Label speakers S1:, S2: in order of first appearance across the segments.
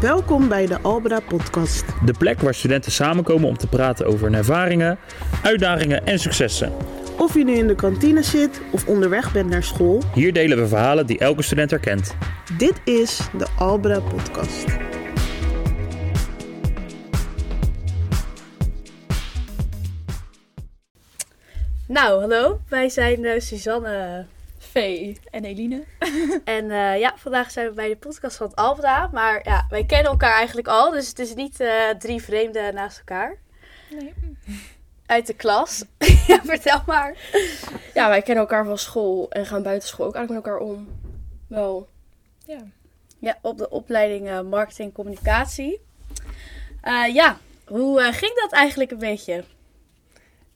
S1: Welkom bij de Albra Podcast.
S2: De plek waar studenten samenkomen om te praten over hun ervaringen, uitdagingen en successen.
S1: Of je nu in de kantine zit of onderweg bent naar school,
S2: Hier delen we verhalen die elke student herkent.
S1: dit is de Albra Podcast.
S3: Nou, hallo. Wij zijn eh, Suzanne.
S4: Vee en Eline.
S3: En eh, ja, vandaag zijn we bij de podcast van Alvda. Maar ja, wij kennen elkaar eigenlijk al. Dus het is niet eh, drie vreemden naast elkaar.
S4: Nee.
S3: Uit de klas. ja, vertel maar.
S5: Ja, wij kennen elkaar van school en gaan buiten school ook eigenlijk met elkaar om. Wel,
S4: Ja.
S3: Ja, op de opleiding eh, Marketing en Communicatie. Eh, ja, hoe eh, ging dat eigenlijk een beetje?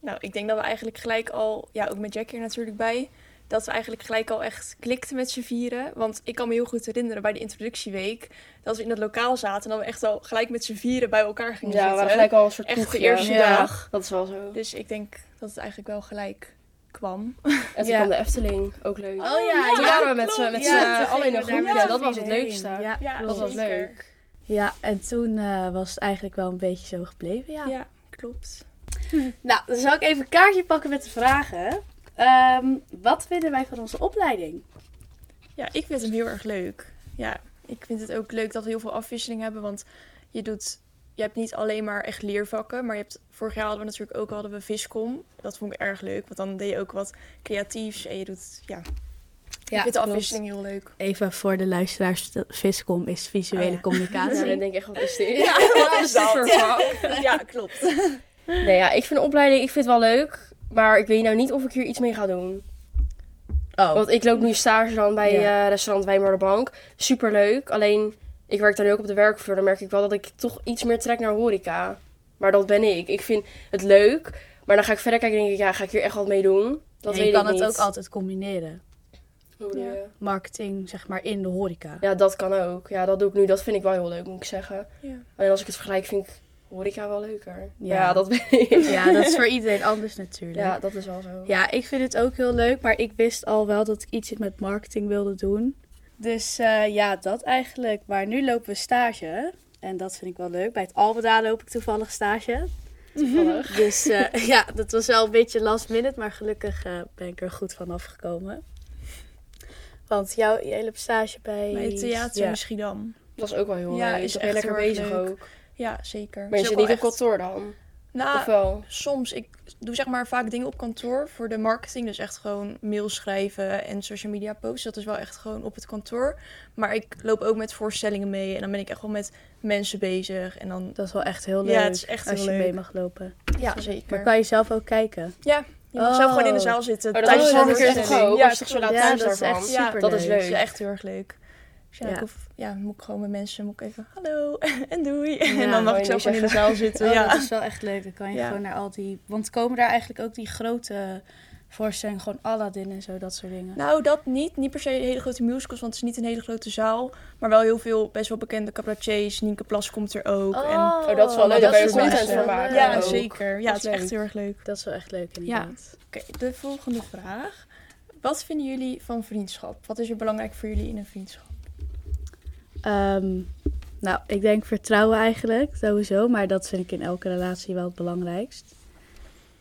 S4: Nou, ik denk dat we eigenlijk gelijk al, ja, ook met Jack hier natuurlijk bij, dat we eigenlijk gelijk al echt klikten met z'n vieren. Want ik kan me heel goed herinneren bij de introductieweek, dat we in het lokaal zaten en dat we echt al gelijk met z'n vieren bij elkaar
S5: ja,
S4: gingen
S5: we
S4: zitten.
S5: waren gelijk al een soort
S4: Echt de
S5: kroegje.
S4: eerste
S5: Ja,
S4: dag.
S5: Dat is wel zo.
S4: Dus ik denk dat het eigenlijk wel gelijk kwam.
S5: En toen
S3: Ja.
S5: kwam de Efteling, ook leuk.
S3: Oh ja,
S5: toen waren we met z'n met z'n
S3: Ja, toen
S5: allen in een
S3: gingen we
S5: groepje.
S3: daar
S5: dat was het
S3: heen.
S5: leukste.
S3: Ja,
S5: dat was
S4: zeker.
S5: leuk.
S3: ja en toen eh, was het eigenlijk wel een beetje zo gebleven, ja.
S4: Ja, klopt.
S3: Nou, dan zal ik even een kaartje pakken met de vragen. Ehm, wat vinden wij van onze opleiding?
S4: Ja, ik vind hem heel erg leuk. Ja, ik vind het ook leuk dat we heel veel afwisseling hebben, want je doet... Je hebt niet alleen maar echt leervakken, maar je hebt, vorig jaar hadden we natuurlijk ook hadden we viscom. Dat vond ik erg leuk, want dan deed je ook wat creatiefs en je doet, ja. ik vind de afwisseling heel leuk.
S6: Even voor de luisteraars, de Viscom is visuele
S4: Oh ja.
S6: communicatie.
S5: Ja, dan denk ik echt, wat is dit?
S4: wat
S5: is dit voor
S4: Ja, klopt.
S5: Nee, ja, ik vind de opleiding, ik vind het wel leuk. Maar ik weet nou niet of ik hier iets mee ga doen.
S6: Oh.
S5: Want ik loop nu stage dan bij
S6: Ja.
S5: eh, restaurant Wijnmaarderbank. Superleuk. Alleen, ik werk daar nu ook op de werkvloer. Dan merk ik wel dat ik toch iets meer trek naar horeca. Maar dat ben ik. Ik vind het leuk. Maar dan ga ik verder kijken en denk ik, ja, ga ik hier echt wat mee doen? Dat
S6: Ja,
S5: weet
S6: je kan
S5: ik
S6: het
S5: niet.
S6: ook altijd combineren.
S4: Oh,
S5: Ja.
S6: Marketing, zeg maar, in de horeca.
S5: Ja, dat kan ook. Ja, dat doe ik nu. Dat vind ik wel heel leuk, moet ik zeggen.
S4: Ja.
S5: Alleen als ik het vergelijk, vind ik horeca wel leuker. Ja,
S6: Ja.
S5: dat ben ik.
S6: Ja, dat is voor iedereen anders natuurlijk.
S5: Ja, dat is wel zo.
S3: Ja, ik vind het ook heel leuk, maar ik wist al wel dat ik iets met marketing wilde doen. Dus eh, ja, dat eigenlijk. Maar nu lopen we stage. En dat vind ik wel leuk. Bij het Albeda loop ik toevallig stage. Toevallig. Dus eh, ja, dat was wel een beetje last minute, maar gelukkig eh, ben ik er goed van afgekomen. Want jouw je hele stage bij...
S4: Bij het theater
S3: Ja.
S4: in Schiedam.
S5: Dat is ook wel heel
S4: Ja,
S5: leuk.
S4: is
S5: Dan ben
S4: echt
S5: je lekker
S4: heel erg
S5: bezig
S4: leuk.
S5: ook.
S4: Ja, zeker.
S5: Maar je
S4: Is ook
S5: zit niet
S4: wel
S5: op
S4: echt-
S5: kantoor dan?
S4: Nou,
S5: of eh, wel?
S4: soms. Ik doe zeg maar vaak dingen op kantoor voor de marketing. Dus echt gewoon mails schrijven en social media posts. Dat is wel echt gewoon op het kantoor. Maar ik loop ook met voorstellingen mee. En dan ben ik echt wel met mensen bezig. En dan...
S3: Dat is wel echt heel leuk.
S4: Ja, het is echt
S3: als
S4: heel
S3: je
S4: leuk.
S3: mee mag lopen.
S4: Ja,
S3: Maar
S4: zeker.
S3: kan je zelf ook kijken?
S4: Je mag zelf gewoon in de
S3: Oh.
S4: zaal zitten.
S5: Oh, dat
S4: tijdens
S5: is
S4: de
S5: wel
S3: dat is
S4: voorstelling.
S5: echt ook.
S4: Ja,
S5: Als je toch zo laat
S3: Ja,
S5: thuis
S3: dat is
S5: daarvan.
S3: echt
S4: Ja,
S3: super
S5: dat is
S4: dat
S5: leuk.
S4: is echt heel erg leuk. Dus ja,
S3: Ja.
S4: Ik hoef, ja, moet ik gewoon met mensen moet ik even hallo en doei.
S3: Ja,
S4: en dan mag
S5: wou
S4: ik
S5: je
S4: zelf
S5: niet
S4: gewoon in de zaal zitten.
S6: Oh,
S4: ja.
S6: dat is wel echt leuk. Dan kan je
S4: Ja.
S6: gewoon naar al die... Want komen daar eigenlijk ook die grote voorstellingen, gewoon Aladdin en zo, dat soort dingen.
S4: Nou, dat niet. Niet per se hele grote musicals, want het is niet een hele grote zaal. Maar wel heel veel best wel bekende cabaretiers. Nienke Plas komt er ook. en,
S5: Oh, dat is wel leuk. Daar
S4: dat
S5: kan
S4: is
S5: je
S4: wel
S5: content
S4: echt
S5: van
S4: wel
S5: maken.
S4: ja,
S5: ook.
S4: zeker. Ja,
S5: Dat
S4: het
S5: is
S4: is echt
S5: leuk.
S4: heel erg leuk.
S3: Dat is wel echt leuk
S4: Ja.
S3: inderdaad.
S4: Oké, de volgende vraag. Wat vinden jullie van vriendschap? Wat is er belangrijk voor jullie in een vriendschap?
S3: Ehm, nou, ik denk vertrouwen eigenlijk sowieso, maar dat vind ik in elke relatie wel het belangrijkst.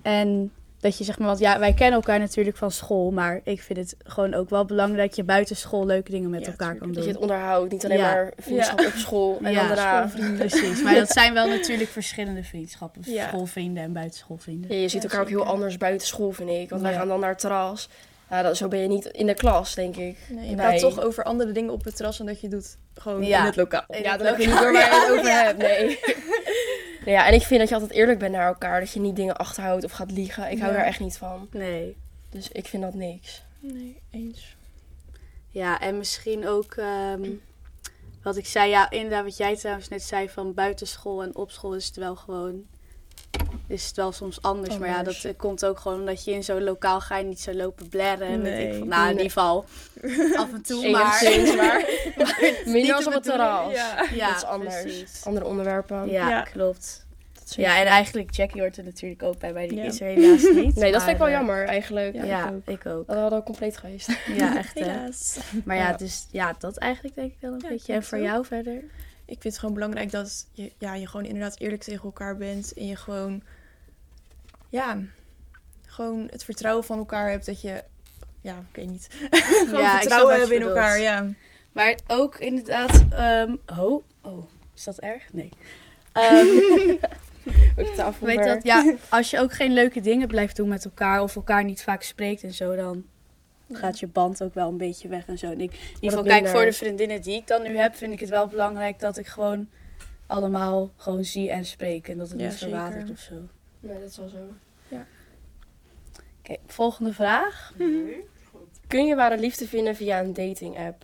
S3: En dat je zeg maar, want ja, wij kennen elkaar natuurlijk van school, maar ik vind het gewoon ook wel belangrijk dat je buiten school leuke dingen met
S4: Ja,
S3: elkaar
S4: tuurlijk.
S3: kan
S5: Dat je het
S3: doen.
S5: onderhoudt. Niet alleen
S3: Ja.
S5: maar vriendschap op school en
S3: Ja.
S5: dan daarna.
S6: Precies, maar dat zijn wel natuurlijk verschillende vriendschappen.
S4: Ja.
S6: Schoolvrienden en buitenschoolvrienden.
S5: Ja, je ziet
S4: Ja,
S5: elkaar ook
S4: zeker.
S5: heel anders buiten school, vind ik. Want wij
S6: Ja.
S5: gaan dan naar het terras. Ja, dat, zo ben je niet in de klas, denk ik.
S4: Nee, je
S5: Wij.
S4: praat toch over andere dingen op het terras dan dat je doet gewoon
S3: Ja.
S4: in het lokaal.
S5: Ja, dan heb je niet door waar je het over hebt. Nee. Nou ja, en ik vind dat je altijd eerlijk bent naar elkaar. Dat je niet dingen achterhoudt of gaat liegen. Ik hou
S4: Ja.
S5: daar echt niet van.
S3: Nee.
S5: Dus ik vind dat niks.
S4: Nee, eens.
S3: Ja, en misschien ook ehm, wat ik zei, ja, inderdaad, wat jij trouwens net zei van buiten school en op school is het wel gewoon. Is het wel soms anders, maar ja,
S5: Anders.
S3: dat eh, komt ook gewoon omdat je in zo'n lokaal ga je niet zo lopen blerren. en Weet ik
S4: Nee.
S3: veel. Nou, in
S5: Nee.
S3: ieder geval. Af en toe, maar.
S5: Enigszins, maar minder als op het terras.
S3: Ja,
S5: dat is anders.
S3: precies.
S5: Andere onderwerpen.
S3: Ja,
S4: Ja.
S3: klopt.
S5: Dat is-
S3: Ja, en eigenlijk, Jackie hoort er natuurlijk ook bij, bij die
S4: Ja.
S3: is er helaas niet.
S5: Nee, dat vind ik wel
S3: maar,
S5: jammer eigenlijk.
S3: eh,
S4: Ja,
S3: Ja,
S4: ik ook. Oh,
S3: ik ook.
S5: Dat hadden we compleet geweest.
S3: Ja, echt hè.
S4: Helaas.
S3: Maar ja,
S5: Ja.
S3: dus ja, dat eigenlijk denk ik wel een
S4: Ja, ik
S3: beetje.
S4: denk
S3: En voor
S4: het ook.
S3: jou verder?
S4: Ik ik vind het gewoon belangrijk dat je, ja, je gewoon inderdaad eerlijk tegen elkaar bent. En je gewoon, ja, gewoon het vertrouwen van elkaar hebt dat je, ja, ik weet niet. gewoon
S3: Ja, ik snap wat
S4: vertrouwen
S3: je
S4: hebben in
S3: bedoelt.
S4: elkaar, ja.
S3: Maar ook inderdaad... ehm, oh, oh, is dat erg? Nee. Ehm,
S5: Ook tafel.
S3: weet dat, ja, als je ook geen leuke dingen blijft doen met elkaar... of elkaar niet vaak spreekt en zo, dan gaat je band ook wel een beetje weg en zo. En ik, in ieder geval, kijk,
S5: minder.
S3: voor de vriendinnen die ik dan nu heb... vind ik het wel belangrijk dat ik gewoon allemaal gewoon zie en spreek. En dat het
S4: Ja,
S3: niet verwatert
S4: zeker.
S3: of zo. Oké,
S5: Ja, dat is wel zo.
S3: volgende vraag.
S5: Kun je ware liefde vinden via een dating app?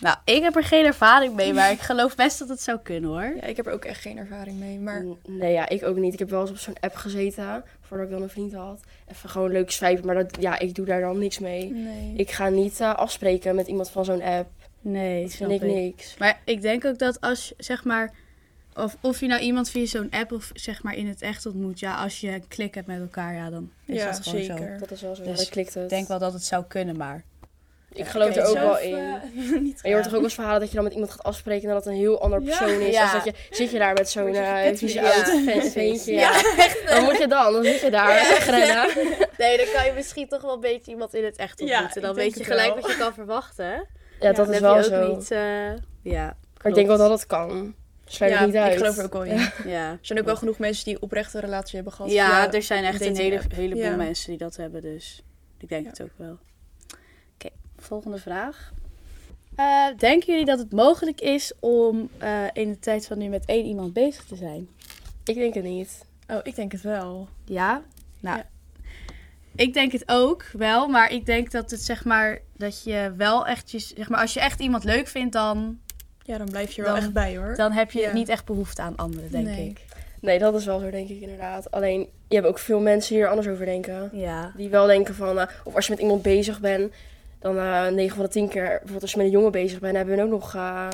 S3: Nou, ik heb er geen ervaring mee, maar ik geloof best dat het zou kunnen hoor.
S4: Ja, ik heb er ook echt geen ervaring mee, maar
S5: Nee, ja, ik ook niet. Ik heb wel eens op zo'n app gezeten, voordat ik dan een vriend had. Even gewoon leuk swipen, maar dat, ja, ik doe daar dan niks mee.
S4: nee.
S5: Ik ga niet eh, afspreken met iemand van zo'n app.
S3: Nee,
S5: Dat vind ik niks.
S3: Maar ik denk ook dat als je, zeg maar, of, of je nou iemand via zo'n app of zeg maar in het echt ontmoet, ja, als je een klik hebt met elkaar, ja, dan is
S4: ja,
S3: dat gewoon zo.
S4: zeker.
S5: Dat is wel zo.
S3: Dus
S5: dat klikt het.
S3: Ik denk wel dat het zou kunnen, maar.
S5: Ik geloof er ook wel in.
S4: eh,
S5: Maar
S4: niet
S5: je hoort toch ook wel eens verhalen dat je dan met iemand gaat afspreken en dat het een heel ander
S4: Ja.
S5: persoon is.
S3: Ja.
S5: Als dat je, zit je daar met zo'n
S4: Met zo'n
S5: eh,
S4: pet-
S5: vieze
S4: ja.
S5: oud vent- ventje. Ja. Wat moet je dan? Dan zit je daar. wegrennen.
S3: Nee, dan kan je misschien toch wel een beetje iemand in het echt
S4: Ja,
S3: ontmoeten. dan
S4: ik denk
S3: weet je
S4: het
S3: gelijk
S4: wel.
S3: wat je kan verwachten.
S5: Ja, dat
S3: dan
S5: is
S3: heb
S5: wel
S3: je ook
S5: zo.
S3: niet. eh, ja,
S5: Maar ik denk wel dat het kan. Sluit het
S4: Ja,
S5: niet uit.
S4: ik geloof er ook wel in. Er
S3: ja.
S4: zijn ook wel genoeg mensen die oprechte relatie hebben gehad.
S3: Ja,
S4: via-
S3: er zijn echt een hele,
S4: dating-app.
S3: heleboel
S4: Ja.
S3: mensen die dat hebben, dus ik denk
S4: Ja.
S3: het ook wel. Oké, volgende vraag. Eh, denken jullie dat het mogelijk is om eh, in de tijd van nu met één iemand bezig te zijn?
S5: Ik denk het niet.
S4: Oh, ik denk het wel.
S3: Ja? Nou,
S4: Ja.
S3: ik denk het ook wel, maar ik denk dat het zeg maar dat je wel echt, je, zeg maar als je echt iemand leuk vindt, dan,
S4: Ja, dan blijf je er
S3: Dan-
S4: wel echt bij hoor.
S3: dan heb je
S4: Ja.
S3: niet echt behoefte aan anderen, denk
S4: Nee.
S3: ik.
S5: Nee, dat is wel zo, denk ik inderdaad. Alleen, je hebt ook veel mensen die er anders over denken.
S3: Ja.
S5: Die wel denken van, eh, of als je met iemand bezig bent, dan eh 9 van de 10 keer, bijvoorbeeld als je met een jongen bezig bent, hebben we ook nog eh,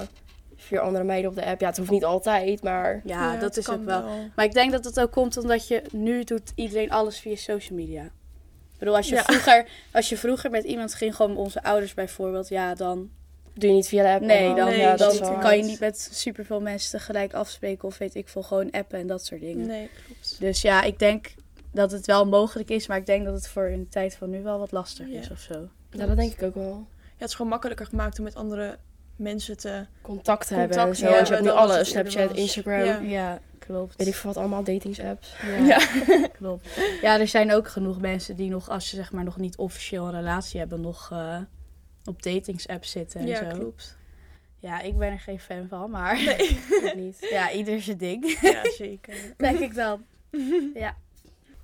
S5: vier andere meiden op de app. Ja, het hoeft niet altijd, maar
S3: Ja, dat,
S4: het
S3: is
S4: kan
S3: ook wel. Maar ik denk dat dat ook komt omdat je nu doet iedereen alles via social media. Ik bedoel, als je,
S4: Ja.
S3: vroeger, als je vroeger met iemand ging, gewoon onze ouders bijvoorbeeld, ja, dan.
S5: doe je niet via de app.
S3: Nee,
S5: allemaal.
S3: dan,
S4: nee,
S5: ja, dat
S4: is
S5: is
S3: dan
S4: waar.
S3: kan je niet met superveel mensen tegelijk afspreken of weet ik veel, gewoon appen en dat soort dingen.
S4: Nee, klopt.
S3: Dus ja, ik denk dat het wel mogelijk is, maar ik denk dat het voor in de tijd van nu wel wat lastig
S4: Ja.
S3: is of zo.
S5: Ja, dat denk ik ook wel.
S4: Ja, het is gewoon makkelijker gemaakt om met andere mensen te...
S5: Contact hebben
S4: Contact
S5: en zo.
S4: hebben,
S5: en je hebt nu
S4: dan dat
S5: alles.
S4: het eerder
S5: Snapchat,
S4: was.
S5: Instagram.
S4: Ja.
S3: Ja, klopt.
S5: Weet ik veel wat allemaal, datingsapps.
S3: Ja, klopt. Ja, er zijn ook genoeg mensen die nog, als ze zeg maar nog niet officieel een relatie hebben, nog eh, op datingsapps zitten en
S4: ja,
S3: zo.
S4: klopt.
S3: Ja, ik ben er geen fan van, maar
S5: Ik niet.
S3: ja, ieder zijn ding,
S4: Ja, zeker.
S3: denk ik dan. ja.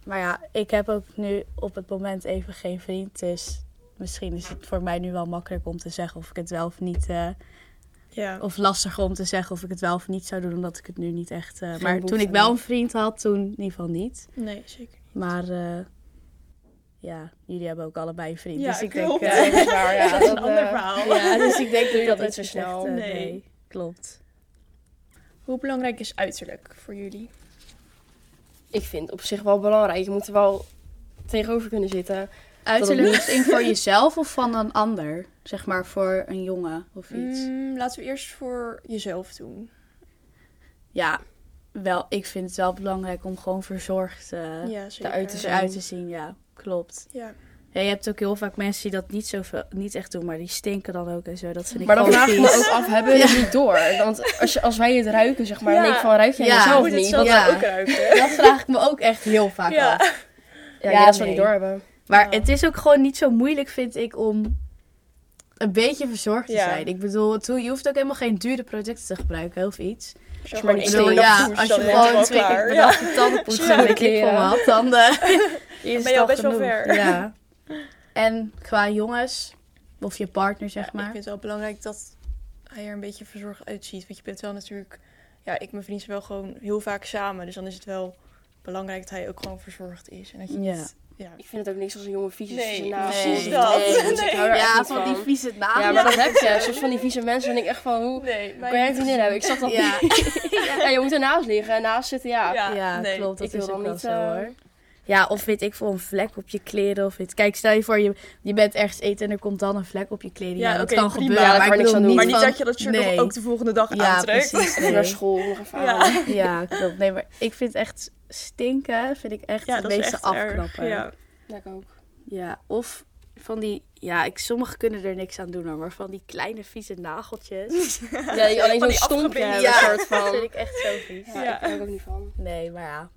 S3: Maar ja, ik heb ook nu op het moment even geen vriend, dus misschien is het voor mij nu wel makkelijk om te zeggen of ik het wel of niet, eh,
S4: Ja.
S3: of lastiger om te zeggen of ik het wel of niet zou doen, omdat ik het nu niet echt. eh, maar toen
S5: behoefte
S3: ik wel
S5: aan.
S3: een vriend had, toen in ieder geval niet.
S4: Nee, zeker niet.
S3: Maar eh, ja, jullie hebben ook allebei een vriend,
S4: Ja,
S3: dus ik
S4: klopt.
S3: denk. eh,
S5: Ja, dat is waar. Ja,
S4: Dat is een
S5: dat,
S4: ander
S5: eh,
S4: verhaal.
S3: ja, dus ik denk
S5: Doe je dat
S3: het
S5: niet zo
S3: echt,
S5: snel?
S3: eh,
S4: Nee.
S3: nee, klopt.
S4: Hoe belangrijk is uiterlijk voor jullie?
S5: Ik vind het op zich wel belangrijk. Je moet er wel tegenover kunnen zitten.
S3: Uiterlijk is in voor jezelf of van een ander? Zeg maar voor een jongen of iets.
S4: Mm, laten we eerst voor jezelf doen.
S3: Ja, wel, ik vind het wel belangrijk om gewoon verzorgd eh,
S4: ja, zeker.
S5: uit te zijn.
S3: eruit te zien. Ja, klopt.
S4: Ja.
S3: Ja, je hebt ook heel vaak mensen die dat niet, zo veel, niet echt doen, maar die stinken dan ook en zo. Dat vind ik
S5: Maar dan
S3: gewoon
S5: vraag ik
S3: vies.
S5: me ook af, hebben we het niet door? Want als, je- als wij het ruiken, zeg maar, dan
S4: Ja.
S5: denk ik van, ruik jij
S3: Ja,
S5: het
S3: je
S5: zelf
S3: moet
S5: niet?
S3: zelf-
S5: Want-
S3: Ja.
S4: ook ruiken.
S3: Dat vraag ik me ook echt heel vaak
S4: Ja.
S3: af.
S5: ja,
S3: Ja,
S5: ja, dat ze
S3: nee.
S5: niet doorhebben.
S3: Maar
S4: Ja.
S3: het is ook gewoon niet zo moeilijk, vind ik, om een beetje verzorgd te
S4: Ja.
S3: zijn. Ik bedoel, het ho- je hoeft ook helemaal geen dure producten te gebruiken hè, of iets.
S4: Als
S5: je
S4: gewoon
S5: maar
S3: Ik
S5: niet
S4: één
S3: bedoel,
S5: stinkt,
S4: dag
S3: ja,
S4: douche,
S3: als je
S4: dan ben
S3: gewoon
S4: wel
S3: twee keer
S4: klaar.
S3: per
S4: Ja.
S3: dag de tandenpoetsen en een klik
S5: Ja.
S3: had, dan eh, is
S4: Ben je
S3: dat
S4: al best wel
S3: genoeg.
S4: ver.
S3: Ja. En qua jongens, of je partner zeg
S4: Ik
S3: maar.
S4: vind het wel belangrijk dat hij er een beetje verzorgd uitziet. Want je bent wel natuurlijk... Ja, ik en mijn vriend zijn wel gewoon heel vaak samen. Dus dan is het wel belangrijk dat hij ook gewoon verzorgd is. En dat je
S3: Ja.
S4: niet... Ja.
S5: Ik vind het ook niks als een jongen vies is.
S4: Nee,
S5: tussen de nagels.
S4: precies
S5: Nee,
S4: dat.
S5: nee, dus ik hou er echt
S3: Ja,
S5: niet
S3: van die vieze naam.
S5: Ja, maar dat heb je. Soms van die vieze mensen denk ik echt van, hoe
S4: Nee,
S5: kan jij het niet in hebben? Ik zag dat
S3: Ja,
S5: niet. Ja, je moet ernaast liggen en naast zitten, ja.
S3: ja, klopt. Dat
S5: ik wil
S3: is
S5: dan
S3: ook wel
S5: niet,
S3: zo
S5: eh,
S3: hoor. Ja, of weet ik voor een vlek op je kleren. Of weet, kijk, stel je voor, je, je bent ergens eten en er komt dan een vlek op je kleding. Ja,
S4: Ja,
S3: dat
S4: oké,
S3: kan
S4: prima.
S3: gebeuren.
S5: Ja, daar kan
S3: ik
S5: niks
S3: wil
S5: aan doen.
S3: niet
S4: Maar niet
S3: van-
S4: dat je dat shirt nog
S3: nee.
S4: ook de volgende dag
S3: Ja,
S4: aantrekt.
S3: precies.
S5: En naar
S3: nee.
S5: school, nog even
S4: Ja.
S5: halen.
S3: Ja, klopt. Nee, maar ik vind echt stinken, vind ik echt
S4: Ja,
S3: het
S4: dat is
S3: meeste
S4: echt erg.
S3: afknappen.
S4: Ja.
S5: Ja, ik ook.
S3: Ja, of van die, ja, ik, sommigen kunnen er niks aan doen, hoor, maar van die kleine vieze nageltjes.
S5: Ja, die
S4: Van
S5: alleen zo'n
S4: die
S5: stompje
S4: afgebeelde-
S5: hebben,
S3: Ja.
S5: soort
S3: Dat vind
S5: van.
S3: ik echt zo vies.
S5: Ja,
S4: Ja.
S5: daar hou ik ook niet van.
S3: Nee, maar ja.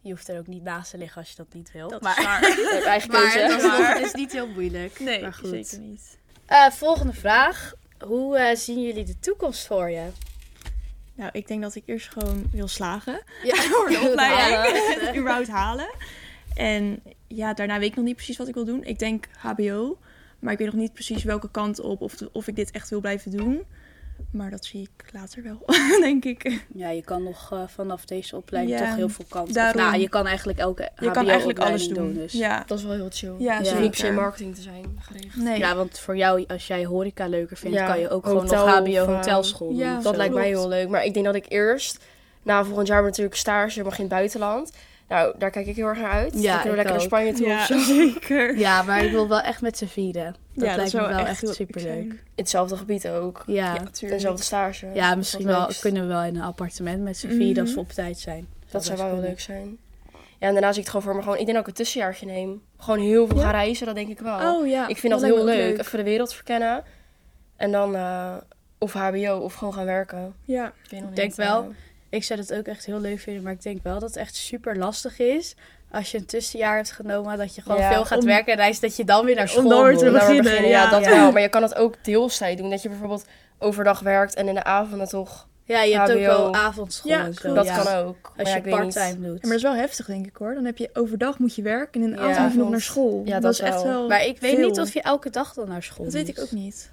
S3: Je hoeft er ook niet naast te liggen als je dat niet wil.
S4: Dat
S3: maar
S4: is waar.
S5: Dat heb ik eigen
S3: maar
S5: keuze.
S3: het
S5: hè.
S3: is, nog- het is niet heel moeilijk.
S4: Nee,
S3: maar goed.
S4: zeker niet.
S3: Eh, volgende vraag. Hoe eh, zien jullie de toekomst voor je?
S4: Nou, ik denk dat ik eerst gewoon wil slagen.
S3: Ja,
S4: opleiding. Het überhaupt halen. En ja, daarna weet ik nog niet precies wat ik wil doen. Ik denk HBO. Maar ik weet nog niet precies welke kant op. Of, of ik dit echt wil blijven doen. Maar dat zie ik later wel, denk ik.
S6: Ja, je kan nog eh, vanaf deze opleiding
S4: Ja,
S6: toch heel veel kanten. op.
S4: daarom.
S6: Nou, je kan eigenlijk elke
S4: Je kan eigenlijk alles doen.
S6: dus.
S4: Ja.
S5: Dat is wel heel chill.
S4: Ja,
S5: Ja, ze
S4: zeker.
S5: hoeft niet per se marketing te zijn. geregeld.
S4: Nee.
S6: Ja, want voor jou, als jij horeca leuker vindt,
S5: Ja,
S6: kan je ook
S5: hotel
S6: gewoon nog
S5: of,
S6: HBO
S5: eh,
S6: hotelschool
S4: ja,
S6: doen. of
S5: Dat
S6: zo.
S5: lijkt mij heel leuk. Maar ik denk dat ik eerst, na volgend jaar natuurlijk stage, mag in het buitenland. Nou, daar kijk ik heel erg naar uit.
S3: Ja,
S5: Dan kunnen we
S3: ik
S5: lekker naar
S3: ook.
S5: Spanje toe of zo.
S4: zeker.
S3: Ja, maar ik wil wel echt met z'n vieren. Dat
S4: ja,
S3: lijkt
S4: zou
S3: me wel echt
S4: heel epic
S3: superleuk.
S4: zijn.
S5: In hetzelfde gebied ook.
S3: Ja.
S4: Ja,
S3: Ja,
S5: En
S4: natuurlijk.
S5: Hetzelfde stage.
S3: misschien
S5: Wat
S3: wel,
S5: leuks.
S3: kunnen we wel in een appartement met z'n vieren als
S4: Mhm.
S3: we op tijd zijn.
S5: Dat zou wel
S3: best
S5: heel
S3: kunnen.
S5: leuk zijn. Ja, en daarna zie ik het gewoon voor me. Gewoon, ik denk dat ik een tussenjaartje neem. Gewoon heel veel gaan reizen, dat denk ik wel.
S4: Oh ja.
S5: ik vind dat,
S4: lijkt
S5: heel
S4: me ook
S5: leuk. Even de wereld verkennen. En dan eh, of hbo of gewoon gaan werken.
S4: Ja.
S5: Ik weet nog niet.
S3: denk wel.
S5: eh,
S3: Ik zou dat ook echt heel leuk vinden, maar ik denk wel dat het echt super lastig is. Als je een tussenjaar hebt genomen, dat je gewoon
S5: Ja,
S3: veel gaat
S4: om-
S3: werken en reis, dat je dan weer naar
S4: om
S3: school
S4: dan weer te
S3: moet.
S5: daar maar
S4: beginnen,
S5: Ja,
S4: ja.
S5: dat
S3: Ja.
S5: wel. Maar je kan het ook deelstijd doen. Dat je bijvoorbeeld overdag werkt en in de avonden toch.
S3: Ja, je hebt ook
S5: HBO.
S3: wel avondschool
S4: Ja,
S3: en zo.
S4: klopt.
S5: dat
S3: Oh, ja.
S5: kan ook. Maar
S3: Als
S5: ja,
S3: je
S5: ik weet niet.
S3: part-time doet.
S4: Ja, Maar dat is wel heftig, denk ik hoor. Dan heb je overdag moet je werken en in de
S5: Ja,
S4: avond moet je nog
S5: klopt.
S4: naar school.
S5: Ja,
S4: dat
S5: dat
S4: is echt
S5: wel.
S4: wel.
S3: Maar ik weet
S4: veel.
S3: niet of je elke dag dan naar school
S4: Dat
S3: moet.
S4: weet ik ook niet.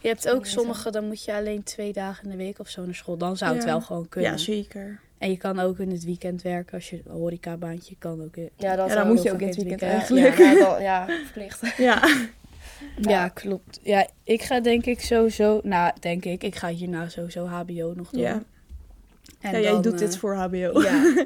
S3: Je hebt ook
S5: niet,
S3: sommige, dan moet je alleen twee dagen in de week of zo naar school. Dan zou het
S4: Ja.
S3: wel gewoon kunnen.
S4: Ja, zeker.
S3: en je kan ook in het weekend werken als je een horecabaantje kan ook. eh. in-
S5: Ja, dat
S4: Ja, dan
S5: wel.
S4: moet je
S3: ook
S4: ook in het
S3: in het
S4: weekend
S5: Ja,
S4: eigenlijk.
S5: ja, ja, dat- ja, verplicht.
S4: Ja.
S3: Ja, klopt. Ja, ik ga denk ik sowieso, nou denk ik, ik ga hierna sowieso HBO nog doen.
S4: Ja.
S3: En
S4: ja, jij
S3: dan,
S4: doet
S3: eh,
S4: dit voor HBO.
S3: Ja,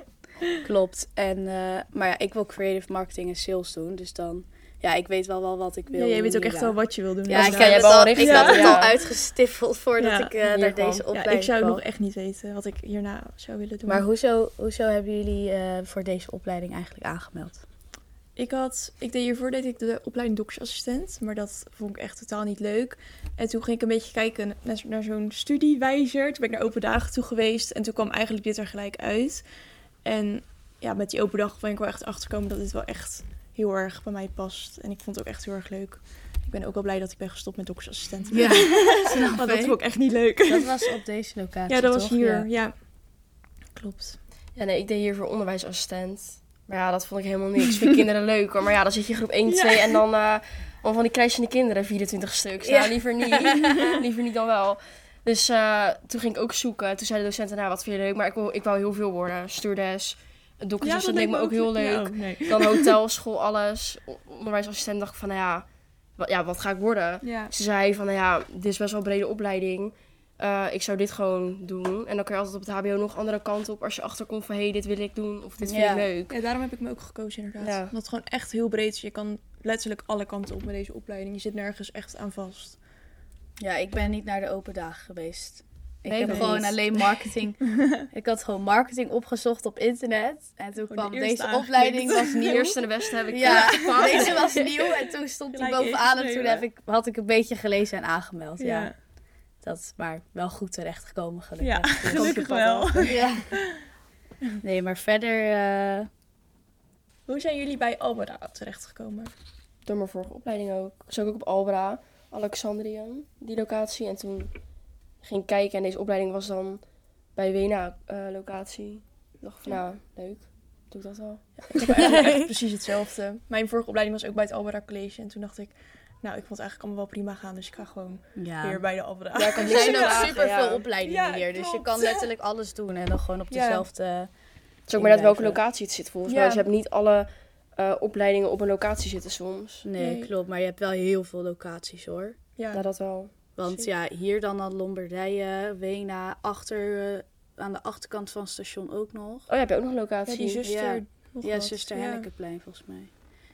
S3: klopt. En, eh, maar ja, ik wil creative marketing en sales doen. Dus dan, ja, ik weet wel, wel wat ik wil.
S4: Ja, jij weet
S3: doen
S4: ook echt
S3: hierna.
S4: wel wat je wil doen. Dus
S3: Ja, ik,
S5: Ja,
S3: heb
S5: jij
S3: het
S5: hebt
S3: al,
S5: al
S3: ik
S5: richting,
S3: had het
S5: ja.
S3: al uitgestippeld voordat
S4: Ja.
S3: ik eh,
S5: Hier
S3: naar
S5: kwam.
S3: deze
S5: Ja,
S3: opleiding
S4: Ja, ik zou
S3: kwam.
S4: nog echt niet weten wat ik hierna zou willen doen.
S3: Maar hoezo, hoezo hebben jullie eh, voor deze opleiding eigenlijk aangemeld?
S4: Ik had, ik deed hiervoor deed ik de opleiding doktersassistent, maar dat vond ik echt totaal niet leuk. En toen ging ik een beetje kijken naar, zo- naar zo'n studiewijzer. Toen ben ik naar open dagen toe geweest en toen kwam eigenlijk dit er gelijk uit. En ja, met die open dag ben ik wel echt achterkomen dat dit wel echt heel erg bij mij past. En ik vond het ook echt heel erg leuk. Ik ben ook wel blij dat ik ben gestopt met doktersassistent.
S3: Ja,
S4: want dat vond ik echt niet leuk.
S3: dat was op deze locatie.
S4: Ja, dat was
S3: toch?
S4: hier.
S3: Ja.
S4: Ja. Klopt.
S5: Ja, nee, ik deed hier voor onderwijsassistent. Maar ja, dat vond ik helemaal niks. Vind ik kinderen leuk hoor. Maar ja, dan zit je groep 1, 2 en dan eh al van die krijsende kinderen, 24 stuks. Nou,
S3: Ja.
S5: liever niet. liever niet dan wel. Dus eh, toen ging ik ook zoeken. Toen zei de docenten, nou, wat vind je leuk? Maar ik wil, ik wou heel veel worden. Stewardess,
S4: Dus
S5: dokter, dat leek me ook heel leuk. Dan hotel, school, alles. O- Onderwijsassistent dacht ik van, nou ja, wat, ja, wat ga ik worden?
S4: Ja.
S5: Ze zei van, nou ja, dit is best wel een brede opleiding. Eh, ik zou dit gewoon doen. En dan kun je altijd op het hbo nog andere kant op. Als je achterkomt van, hé, hey, dit wil ik doen. Of dit vind
S3: Ja.
S5: ik leuk.
S4: Ja, daarom heb ik me ook gekozen inderdaad.
S5: Ja.
S4: Omdat het gewoon echt heel breed is. Je kan letterlijk alle kanten op met deze opleiding. Je zit nergens echt aan vast.
S3: Ja, ik ben niet naar de open dagen geweest. Ik
S5: Nee,
S3: heb
S5: nog
S3: gewoon
S5: niet.
S3: alleen marketing. ik had gewoon marketing opgezocht op internet. En toen
S4: de
S3: kwam
S4: eerste
S3: deze
S4: aangeklikt.
S3: opleiding was
S5: De
S3: nieuw.
S5: eerste en de beste heb ik
S3: Ja,
S5: gepakt.
S3: deze was nieuw en toen stond hij
S4: Gelijk
S3: bovenaan en toen
S4: ingeschreven.
S3: heb ik, had ik een beetje gelezen en aangemeld. Ja.
S4: Ja.
S3: Dat is maar wel goed terechtgekomen
S4: Ja,
S3: gelukkig. Dus-
S4: gelukkig wel.
S3: Ja. Nee, maar verder... eh,
S4: Hoe zijn jullie bij Albera terechtgekomen?
S5: Door mijn vorige opleiding ook. Ik zat ook op Albra, Alexandrium, die locatie. En toen ging ik kijken en deze opleiding was dan bij Wena eh, locatie. Ik dacht van, nou, leuk. Doe ik dat wel.
S4: Ik heb eigenlijk echt precies hetzelfde. Mijn vorige opleiding was ook bij het Albera College. En toen dacht ik, nou, ik vond het eigenlijk allemaal wel prima gaan. Dus ik ga gewoon
S3: ja.
S4: weer bij de Albera.
S5: Ja, ik
S3: Er
S5: had niet
S3: zijn
S5: zoveel
S3: ook
S5: vragen,
S3: super veel
S5: ja.
S3: opleidingen
S4: Ja,
S3: hier, dus je
S4: klopt.
S3: kan letterlijk alles doen en dan gewoon op
S4: Ja.
S3: dezelfde...
S5: Het is ook maar net welke
S3: inblijven.
S5: locatie het zit volgens
S4: Ja.
S5: mij. Dus je hebt niet alle eh, opleidingen op een locatie zitten soms.
S3: Nee,
S4: Nee.
S3: klopt, maar je hebt wel heel veel locaties hoor.
S4: Ja.
S5: Ja, dat wel.
S3: Want ja, hier dan aan Lombardije, Wena, achter, eh, aan de achterkant van het station ook nog.
S5: Oh, ja, heb je ook nog een locatie?
S4: Ja, die zuster nog
S3: Ja,
S4: wat.
S3: zuster
S4: Ja.
S3: Hennekeplein volgens mij.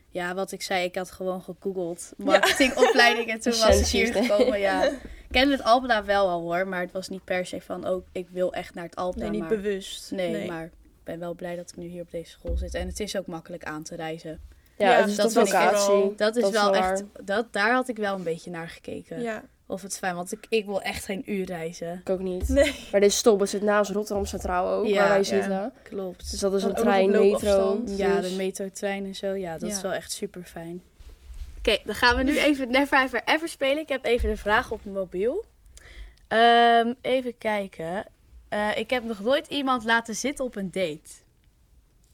S3: Ja, wat ik zei, ik had gewoon gegoogeld marketingopleiding en toen was ik
S5: Recensies,
S3: hier
S5: nee.
S3: gekomen. Ja. Ik kende het Albeda wel al hoor, maar het was niet per se van, oh, ik wil echt naar het Albeda.
S4: Nee, niet
S3: maar...
S4: bewust.
S3: Nee, maar ik ben wel blij dat ik nu hier op deze school zit. En het is ook makkelijk aan te reizen.
S5: Ja,
S4: Ja,
S5: het is
S3: dat
S5: dat
S3: vind ik
S5: locatie.
S4: wel-
S3: Dat is
S5: Dat is
S3: wel
S5: wel
S3: echt, dat, daar had ik wel een beetje naar gekeken.
S4: Ja.
S3: Of het is fijn, want ik, ik wil echt geen uur reizen.
S5: Ik ook niet.
S4: Nee.
S5: Maar dit is stom, het zit naast Rotterdam Centraal ook,
S3: Ja,
S5: waar wij
S3: ja.
S5: zitten.
S3: Klopt.
S5: Dus dat is
S4: Dan
S5: een
S4: ook nog
S5: trein,
S4: op
S5: metro.
S4: loopafstand.
S3: Ja,
S5: dus-
S3: de metrotrein en zo. Ja, dat
S4: Ja.
S3: is wel echt super fijn. Oké, dan gaan we nu even Never Ever Ever spelen. Ik heb even een vraag op mijn mobiel. Ehm, even kijken. Eh, ik heb nog nooit iemand laten zitten op een date.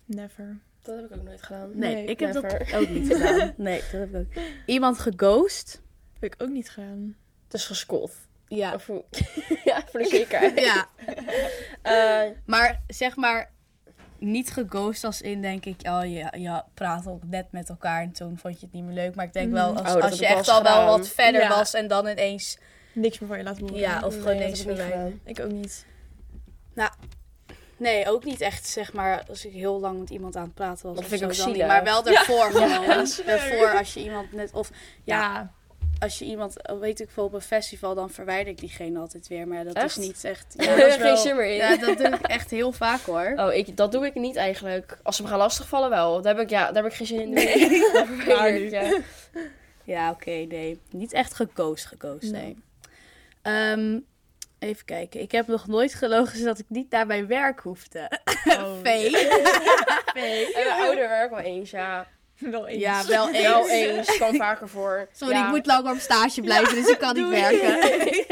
S4: Never.
S5: Dat heb ik ook nooit gedaan.
S3: Nee,
S4: Nee,
S3: ik heb dat
S5: never.
S3: ook niet gedaan. Nee, dat heb ik ook. Iemand geghost.
S4: Heb ik ook niet gedaan.
S5: Het is gescot.
S3: Ja.
S5: Of hoe- ja, voor de zekerheid.
S3: ja.
S5: Eh,
S3: Maar zeg maar, niet geghost als in denk ik, oh je, je praat ook net met elkaar en toen vond je het niet meer leuk. Maar ik denk wel,
S5: Oh,
S3: als,
S5: dat
S3: als
S5: heb
S3: je
S5: ik wel
S3: echt
S5: eens
S3: al wel
S5: gedaan.
S3: wat verder
S4: Ja.
S3: was en dan ineens...
S4: Niks meer van je laten horen.
S3: Ja, of gewoon
S5: nee,
S3: ineens
S5: dat heb ik niet
S3: voorbij.
S5: gedaan.
S4: Ik ook niet.
S3: Nou, Nee, ook niet echt, zeg maar, als ik heel lang met iemand aan het praten was.
S5: Dat
S3: of
S5: vind ik
S3: zo,
S5: ook
S3: dan niet.
S5: zielig.
S3: Maar wel daarvoor gewoon.
S4: dat is erg.
S3: daarvoor als je iemand net... Of ja,
S4: Ja.
S3: als je iemand, weet ik veel, op een festival, dan verwijder ik diegene altijd weer. Maar dat
S5: Echt?
S3: is niet echt...
S5: Ja,
S3: Ja,
S5: dat
S3: dat,
S5: is wel- Geen zin meer in.
S3: ja, dat doe ik echt heel vaak hoor.
S5: Oh, ik, dat doe ik niet eigenlijk. Als ze me gaan lastigvallen wel. Daar heb ik, ja, daar heb ik geen zin in. Nee. Dat verwijder ik, ja.
S3: Ja, oké, nee. Niet echt gekozen, gekozen.
S4: Nee.
S3: Ehm, even kijken. Ik heb nog nooit gelogen zodat ik niet naar mijn werk hoefde.
S4: Oh,
S3: Vee.
S5: En mijn ouder werk wel eens, ja.
S4: Wel eens.
S3: Ja, wel eens.
S5: Wel eens, kwam vaker voor.
S3: Sorry,
S5: ja.
S3: ik moet langer op stage blijven, dus ik kan niet werken.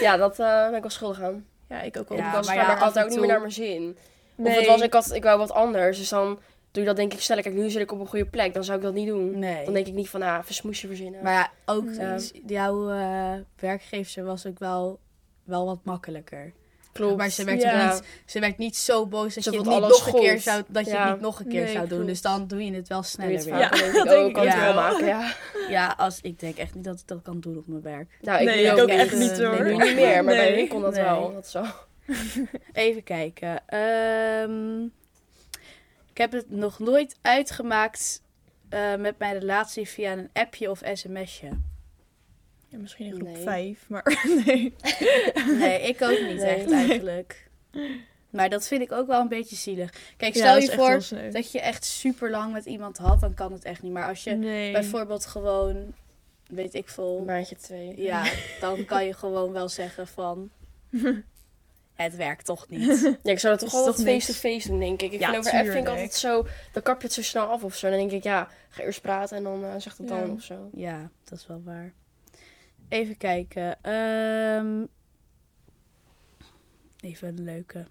S5: Ja, dat eh, ben ik wel schuldig aan.
S4: Ja, ik ook al.
S5: Ja,
S3: Ja,
S5: was,
S3: maar
S5: maar
S3: ja,
S5: ik had
S3: af en
S5: het ook niet meer
S3: toe-
S5: naar mijn zin.
S4: Nee.
S5: Of het was, ik, had, ik wou wat anders. Dus dan doe je dat denk ik sneller. Kijk, nu zit ik op een goede plek. Dan zou ik dat niet doen.
S3: Nee.
S5: Dan denk ik niet van, ah, even smoesje verzinnen.
S3: Maar ja, ook
S5: Ja.
S3: iets- jouw eh werkgever was ook wel, wel wat makkelijker.
S5: klopt.
S3: Maar ze werd,
S4: Ja.
S3: ook niet, ze werd niet zo boos dat
S5: Ze
S3: je het
S5: vond
S3: niet
S5: alles
S3: nog een keer
S5: goed.
S3: zou, dat je
S5: Ja.
S3: het niet nog een keer
S4: Nee,
S3: zou doen.
S4: klopt.
S3: Dus dan doe je het wel
S5: Doe je het
S3: sneller weer.
S5: vaker,
S4: Ja,
S5: denk
S4: dat
S5: ik
S4: denk
S5: ook.
S4: ik
S5: Kan het
S3: ook
S5: wel
S4: wel.
S5: maken, ja.
S3: Ja, als, ik denk echt niet dat ik dat kan doen op mijn werk.
S5: Nou, ik
S4: Nee,
S5: nu
S4: ik
S5: ook,
S4: ook
S5: niet.
S4: echt niet,
S5: Nee,
S4: hoor.
S5: nu niet meer, maar bij
S4: Nee.
S5: hun kon dat
S3: Nee.
S5: wel. Dat is wel.
S3: Even kijken. Ehm, ik heb het nog nooit uitgemaakt eh, met mijn relatie via een appje of sms'je.
S4: Ja, misschien in
S5: Nee.
S4: groep 5, maar nee.
S3: Nee, ik ook niet
S5: Nee.
S3: echt eigenlijk. Maar dat vind ik ook wel een beetje zielig. Kijk,
S4: Ja,
S3: stel
S4: dat is
S3: je
S4: echt
S3: voor
S4: heel sneu.
S3: dat je echt super lang met iemand had, dan kan het echt niet. Maar als je
S4: Nee.
S3: bijvoorbeeld gewoon, weet ik veel,
S5: Maandje twee.
S3: ja, dan kan je gewoon wel zeggen van, het werkt toch niet.
S5: Ja, ik zou dat toch
S4: Is toch
S5: altijd
S4: niks?
S5: face-to-face doen, denk ik. Ik
S3: Ja,
S5: vind over app vind ik
S4: tuurlijk.
S5: altijd zo... Dan kap je het zo snel af of zo. Dan denk ik, ja, ga eerst praten en dan eh, zeg dat
S4: Ja.
S5: dan of zo.
S3: Ja, dat is wel waar. Even kijken. ehm, even een leuke.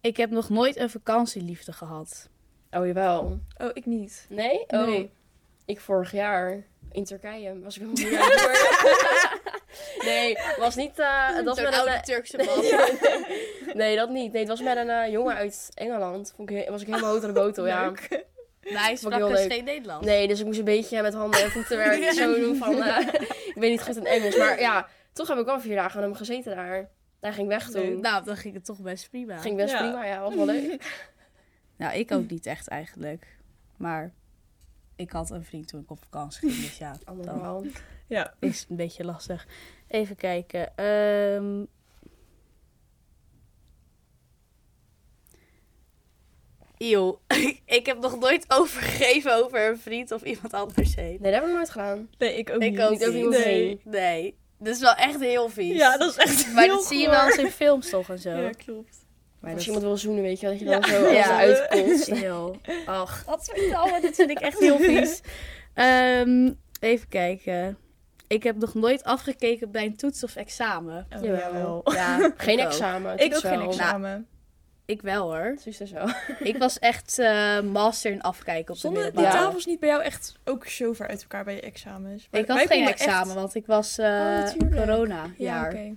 S3: Ik heb nog nooit een vakantieliefde gehad.
S5: Oh, jawel.
S4: Oh, ik niet.
S5: Nee? Oh.
S4: Nee.
S5: Ik vorig jaar in Turkije was ik wel moeder aan het worden. Nee, was niet... eh, dat was
S3: Zo'n
S5: met een...
S3: Turkse
S5: Nee, dat niet. Nee, het was met een eh, jongen uit Engeland. Vond ik, he- was ik helemaal hoog aan de botel, ja.
S3: Nee, hij
S5: Vond ik heel
S3: sprak dus
S5: leuk.
S3: geen Nederlands.
S5: Nee, dus ik moest een beetje met handen en voeten werken. Zo doen van, eh, ik ben niet goed in Engels. Maar ja, toch heb ik wel vier dagen aan hem gezeten daar. Daar ging ik weg toen.
S3: Nou, dan ging het toch best prima.
S5: Ging best
S4: Ja.
S5: prima, ja. Was wel leuk.
S3: Nou, ik ook niet echt eigenlijk. Maar ik had een vriend toen ik op vakantie ging. Dus ja,
S5: Allemaal
S3: dat
S5: wel.
S4: Ja.
S3: is een beetje lastig. Even kijken. ehm. Eeuw, ik heb nog nooit overgegeven over een vriend of iemand anders heen.
S5: Nee, dat heb ik nooit gedaan.
S4: Nee, ik ook
S3: Ik
S4: niet.
S3: ook
S5: Niet over
S3: niet.
S5: iemand heen.
S3: Nee, dat is wel echt heel vies.
S4: Ja, dat is echt
S3: maar
S4: heel
S3: dat zie je
S4: goor.
S3: wel eens in films toch en zo.
S4: Ja, klopt.
S3: maar
S5: Als
S3: dat
S5: iemand wil zoenen, weet je wel, dat je
S4: Ja.
S5: dan zo alles
S3: Ja.
S5: uitkomt.
S3: Heel. Ach, wat dit vind ik echt heel vies. Ehm, even kijken. Ik heb nog nooit afgekeken bij een toets of examen.
S4: Oh,
S5: Jawel.
S4: jawel.
S3: Ja,
S5: Geen
S3: ik ook.
S4: Ik
S5: examen.
S4: ook geen
S5: toets wel.
S3: Nou,
S4: examen.
S3: Ik wel hoor.
S5: Toets dus wel.
S3: Ik was echt eh, master in afkijken op de
S4: Stonden die
S3: middelbare.
S5: Ja.
S4: tafels niet bij jou echt ook zo ver uit elkaar bij je examens? Maar
S3: Ik had
S4: wij
S3: geen
S4: konden echt-
S3: examen, want ik was eh,
S4: Oh, natuurlijk.
S3: corona
S4: Ja,
S3: jaar.
S4: oké.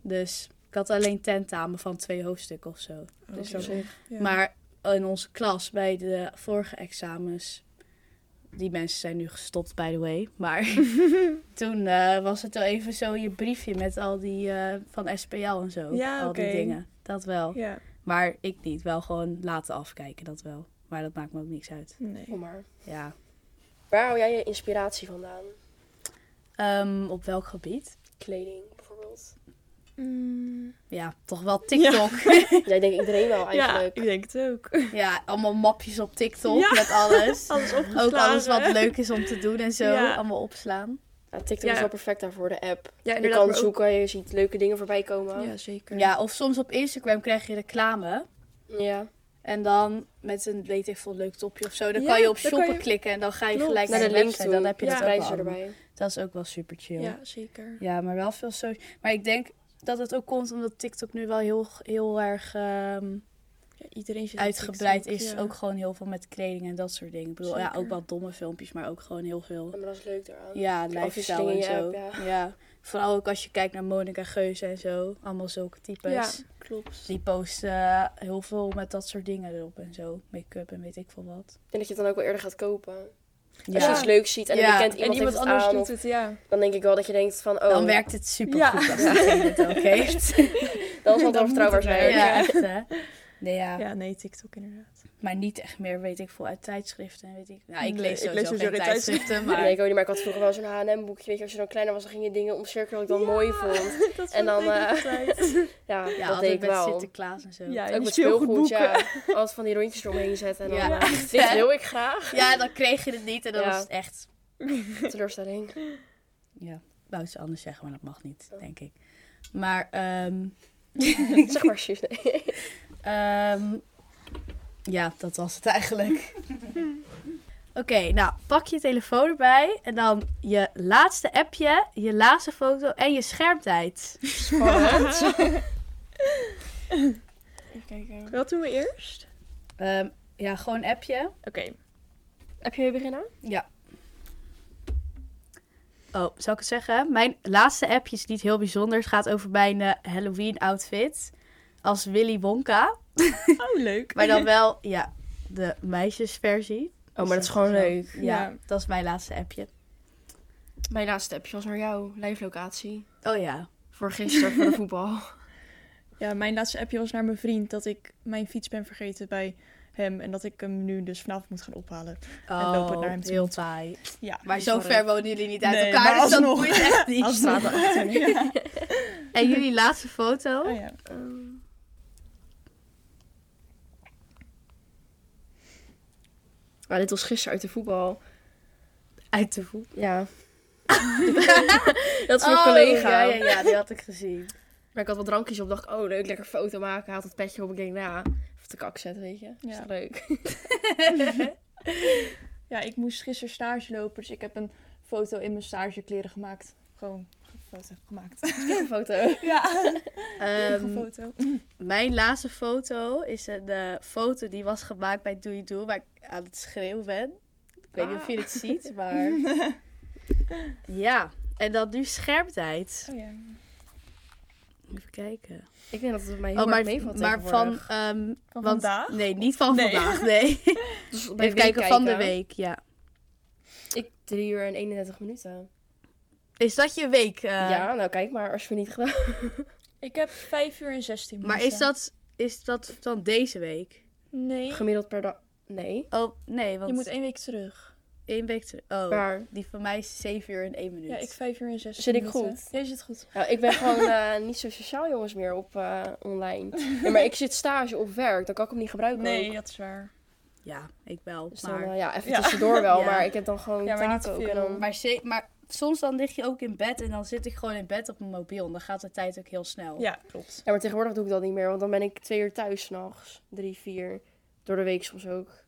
S3: Dus ik had alleen tentamen van twee hoofdstukken of zo.
S5: Dus
S4: Oké.
S5: op zich.
S4: Oh, Ja.
S3: Maar in onze klas, bij de vorige examens. Die mensen zijn nu gestopt, by the way. Maar toen eh, was het wel even zo je briefje met al die eh, van SPL en zo.
S4: Ja,
S3: al
S4: oké.
S3: die dingen. Dat wel.
S4: Ja.
S3: Maar ik niet. Wel gewoon laten afkijken, dat wel. Maar dat maakt me ook niks uit.
S4: Nee.
S5: Kom maar.
S3: Ja.
S5: Waar haal jij je inspiratie vandaan?
S3: Ehm, op welk gebied?
S5: Kleding bijvoorbeeld.
S4: Mm,
S3: Ja, toch wel TikTok.
S5: Jij denkt iedereen wel
S4: ja,
S5: eigenlijk.
S4: ik denk het ook.
S3: Ja, allemaal mapjes op TikTok
S4: Ja.
S3: met alles.
S4: Alles opgeslagen.
S3: Ook alles wat leuk is om te doen en zo.
S4: Ja.
S3: Allemaal opslaan.
S5: Ja, TikTok
S4: Ja.
S5: is wel perfect daarvoor, de app.
S4: Ja,
S5: Je
S4: inderdaad.
S5: kan
S4: maar ook-
S5: zoeken, je ziet leuke dingen voorbij komen. Ja.
S4: Ja, zeker.
S3: Ja, of soms op Instagram krijg je reclame. En dan met een, weet ik veel, leuk topje of zo. Dan
S4: Ja,
S3: kan je op
S4: dan
S3: shoppen
S4: kan je-
S3: klikken en dan ga je
S4: Klopt.
S3: gelijk
S5: Naar de link
S3: website.
S5: toe.
S3: Dan heb je
S4: Ja,
S3: dat
S5: de
S3: ook
S5: prijzen
S3: al.
S5: erbij.
S3: Dat is ook wel super chill.
S4: Ja, zeker.
S3: Ja, maar wel veel social. Maar ik denk dat het ook komt omdat TikTok nu wel heel, heel erg ehm,
S4: Ja, iedereen zit op
S3: uitgebreid
S4: TikTok,
S3: is.
S4: ja.
S3: Ook gewoon heel veel met kleding en dat soort dingen. Ik bedoel, ja,
S4: Zeker.
S3: ook wel domme filmpjes, maar ook gewoon heel veel.
S5: Ja, Maar dat is leuk eraan.
S3: Ja,
S5: De
S3: lifestyle en
S5: afwisseling in
S3: zo.
S5: je app,
S3: ja. Vooral ook als je kijkt naar Monica Geuze en zo. Allemaal zulke types.
S4: Ja, klopt.
S3: Die posten eh, heel veel met dat soort dingen erop en zo. Make-up en weet ik veel wat.
S5: En dat je het dan ook wel eerder gaat kopen. Als je
S3: Ja.
S5: iets leuks ziet en
S3: Ja,
S5: je kent
S4: En
S5: iemand,
S4: iemand
S5: heeft het
S4: anders
S5: aan,
S4: doet
S5: of-
S4: het, ja.
S5: dan denk ik wel dat je denkt van, oh,
S3: Dan werkt het super
S4: Ja.
S3: goed als diegene het ook heeft.
S5: dat
S4: dan
S5: zal wel
S4: moet
S5: vertrouwbaar
S4: het
S5: zijn.
S4: werken.
S3: Ja, echt hè. Nee, ja.
S4: Ja, nee, TikTok inderdaad.
S3: Maar niet echt meer, weet ik veel, uit tijdschriften. en Weet ik. Nou, ik
S4: Nee,
S3: lees
S4: ik
S3: sowieso
S4: lees sowieso
S3: geen
S4: geen
S3: tijdschriften,
S5: Maar...
S3: maar...
S5: ik ook niet, maar ik had vroeger wel zo'n H&M boekje. Weet je, als je dan kleiner was, dan ging je dingen omcirkelen wat ik dan mooi vond.
S4: dat
S5: En dan,
S4: vond ik
S5: eh,
S4: altijd.
S3: Ja,
S5: Ja, dat deed
S3: altijd
S5: ik
S3: met
S5: wel.
S3: Sinterklaas en zo.
S4: Ja,
S5: ook
S4: en
S5: met
S4: speelgoedboeken.
S5: speelgoed, ja. Altijd van die rondjes eromheen zetten. En dan,
S3: Ja,
S5: ja,
S3: echt,
S5: dit
S3: hè?
S5: wil ik graag.
S3: Ja, dan kreeg je het niet en dan
S5: Ja.
S3: was het echt...
S5: Teleurstelling.
S3: Ja, wou iets anders zeggen, maar dat mag niet, denk ik. Maar, ehm,
S5: zeg maar, shit. Nee.
S3: ehm, ja, dat was het eigenlijk. Oké, nou, pak je telefoon erbij en dan je laatste appje, je laatste foto en je schermtijd.
S6: Even kijken.
S4: Wat doen we eerst?
S3: Ehm, ja, gewoon appje.
S4: Oké.
S5: Heb je weer beginnen?
S3: Ja. Oh, zal ik het zeggen? Mijn laatste appje is niet heel bijzonder. Het gaat over mijn eh, Halloween outfit. Als Willy Wonka.
S4: Oh, leuk.
S3: Maar dan wel, ja, de meisjesversie.
S5: Oh, maar dat is gewoon leuk.
S3: Ja,
S4: Ja.
S3: dat is mijn laatste appje.
S5: Mijn laatste appje was naar jou, lijflocatie.
S3: Oh ja.
S5: Voor gisteren, voor de voetbal.
S4: Ja, mijn laatste appje was naar mijn vriend dat ik mijn fiets ben vergeten bij hem. En dat ik hem nu dus vanavond moet gaan ophalen.
S3: Oh,
S4: lopen het naar hem toe.
S3: heel taai.
S4: Ja,
S3: Maar zo ver wonen jullie niet uit
S4: Nee,
S3: elkaar,
S4: maar
S3: dus dat
S4: alsnog.
S3: moet je echt niet.
S4: Als het ja.
S3: En jullie laatste foto?
S4: Oh, ja.
S5: Maar Ah, dit was gisteren uit de voetbal.
S3: Uit de voet.
S5: Ja. dat is mijn
S3: Oh,
S5: collega.
S3: Ja, ja, ja, die had ik gezien.
S5: Maar ik had wat drankjes op. dacht, oh leuk, lekker foto maken. Hij had het petje op. Ik denk, nou, even te kak zetten, weet je. Dat is
S4: Ja.
S5: toch leuk.
S4: ja, ik moest gisteren stage lopen, dus ik heb een foto in mijn stagekleren gemaakt. Gewoon een foto gemaakt.
S5: Een foto.
S4: Ja, een
S3: Ehm,
S4: foto.
S3: mijn laatste foto is een eh, foto die was gemaakt bij Doei Doe, waar ik aan het schreeuwen ben. Ik weet niet of
S4: Ah.
S3: je het ziet, maar... ja, en dan nu schermtijd.
S4: Oh ja.
S3: Even kijken.
S5: Ik denk dat het mij heel
S3: Oh,
S5: erg
S3: maar,
S5: meevalt
S3: maar van, ehm,
S4: Van
S3: want-
S4: vandaag?
S3: Nee, niet van
S4: Nee.
S3: vandaag, nee.
S5: dus bij
S3: Even kijken, van de week, ja.
S5: Ik 3 uur en 31 minuten.
S3: Is dat je week? eh,
S5: ja, nou kijk maar, als je het niet gedaan
S4: Ik heb 5 uur en 16
S3: Maar is dat, is dat dan deze week?
S4: Nee,
S5: Gemiddeld per dag. Nee.
S3: Oh, nee, want
S4: je moet één week terug.
S3: één week terug. Oh,
S5: Maar
S3: die van mij is 7 uur en 1 minuut.
S4: Ja, ik 5 uur en 16
S5: Zit ik
S4: minuten.
S5: goed?
S4: Jij zit goed.
S5: nou, ik ben gewoon eh, niet zo sociaal jongens meer op eh, online. Ja, maar ik zit stage op werk, dan kan ik hem niet gebruiken.
S4: Nee,
S5: ook.
S4: dat is waar.
S3: Ja, ik wel.
S5: Dus dan,
S3: Maar,
S5: eh, ja, even
S4: Ja.
S5: tussendoor wel,
S3: Ja.
S5: maar ik heb dan gewoon
S4: Ja, maar niet
S5: taken ook.
S4: veel.
S5: En dan...
S3: maar, ze- maar soms dan lig je ook in bed en dan zit ik gewoon in bed op mijn mobiel. En dan gaat de tijd ook heel
S5: Oh,
S3: snel.
S4: Ja, klopt.
S5: Ja, maar tegenwoordig doe ik dat niet meer, want dan ben ik twee uur thuis s'nachts. Drie, vier. Door de week soms ook.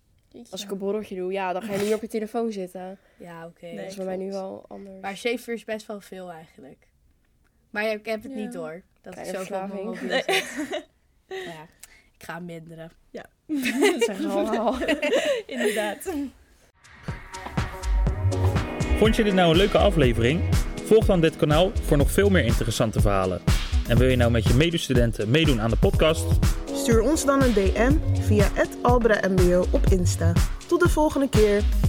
S5: Als ik een borreltje doe, ja, dan ga je niet meer op je telefoon zitten.
S3: Ja, oké.
S4: Nee.
S5: dat is bij mij nu
S4: klopt.
S5: wel anders.
S3: Maar 7 uur is best wel veel eigenlijk. Maar ja, ik heb het
S4: Ja.
S3: niet door. Dat
S5: Kleine
S3: is zo van mijn mobiel
S5: verslaving.
S3: zit. Ja, ik ga minderen.
S5: dat zeggen ze allemaal.
S4: Inderdaad.
S2: Vond je dit nou een leuke aflevering? Volg dan dit kanaal voor nog veel meer interessante verhalen. En wil je nou met je medestudenten meedoen aan de podcast?
S1: Stuur ons dan een DM via het Albra MBO op Insta. Tot de volgende keer.